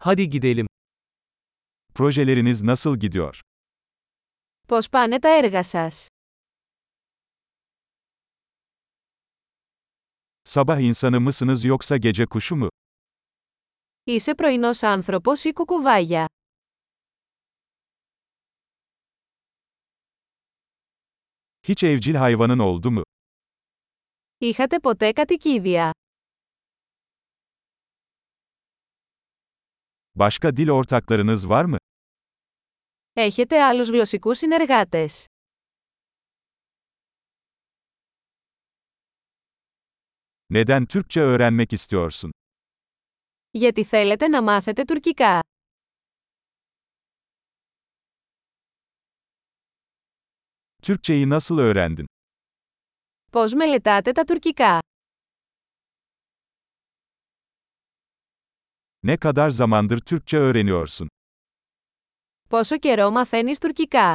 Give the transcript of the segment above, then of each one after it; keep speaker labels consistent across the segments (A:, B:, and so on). A: Hadi gidelim.
B: Projeleriniz nasıl gidiyor?
C: Πώς πάνε τα έργα σας?
B: Sabah insanı mısınız yoksa gece kuşu mu?
C: Είσαι πρωινός άνθρωπος ή κουκουβάγια.
B: Hiç evcil hayvanın oldu mu?
C: Είχατε ποτέ κατοικίδια.
B: Başka dil ortaklarınız var mı?
C: Έχετε άλλους γλωσσικούς συνεργάτες.
B: Neden Türkçe öğrenmek istiyorsun?
C: Γιατί θέλετε να μάθετε τουρκικά.
B: Türkçeyi nasıl öğrendin?
C: Πώς μελετάτε τα τουρκικά.
B: Ne kadar zamandır Türkçe öğreniyorsun?
C: Πόσο καιρό μαθαίνεις τουρκικά.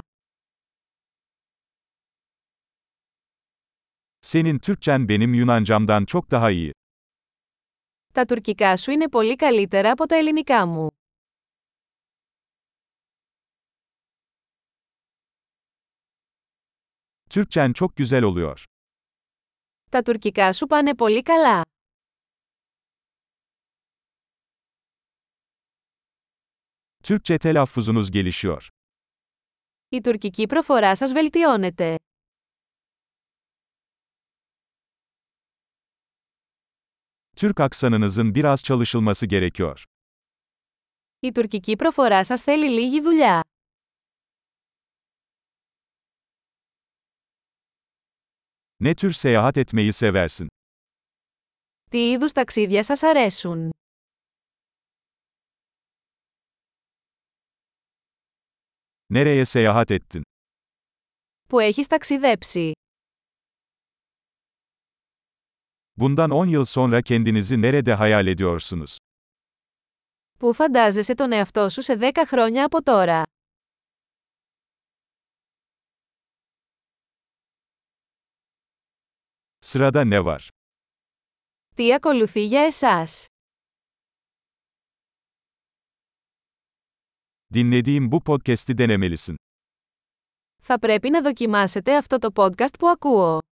B: Senin Türkçen benim Yunancamdan çok daha iyi.
C: Τα τουρκικά σου είναι πολύ καλύτερα από τα ελληνικά μου.
B: Türkçen çok güzel oluyor.
C: Τα τουρκικά σου πάνε πολύ καλά.
B: Türkçe telaffuzunuz gelişiyor.
C: Η τουρκική προφορά σας βελτιώνεται.
B: Türk aksanınızın biraz çalışılması gerekiyor.
C: Η τουρκική προφορά σας θέλει λίγη δουλειά.
B: Ne tür seyahat etmeyi seversin?
C: Τι είδους ταξίδια σας αρέσουν.
B: Nereye seyahat ettin?
C: Που έχεις ταξιδέψει.
B: Bundan 10 yıl sonra kendinizi nerede hayal ediyorsunuz?
C: Πού φαντάζεσαι τον εαυτό σου σε 10 χρόνια από τώρα.
B: Sırada ne var?
C: Τι ακολουθεί για εσάς.
B: Dinlediğim bu podcast'i denemelisin.
C: Θα πρέπει να δοκιμάσετε αυτό το podcast που ακούω.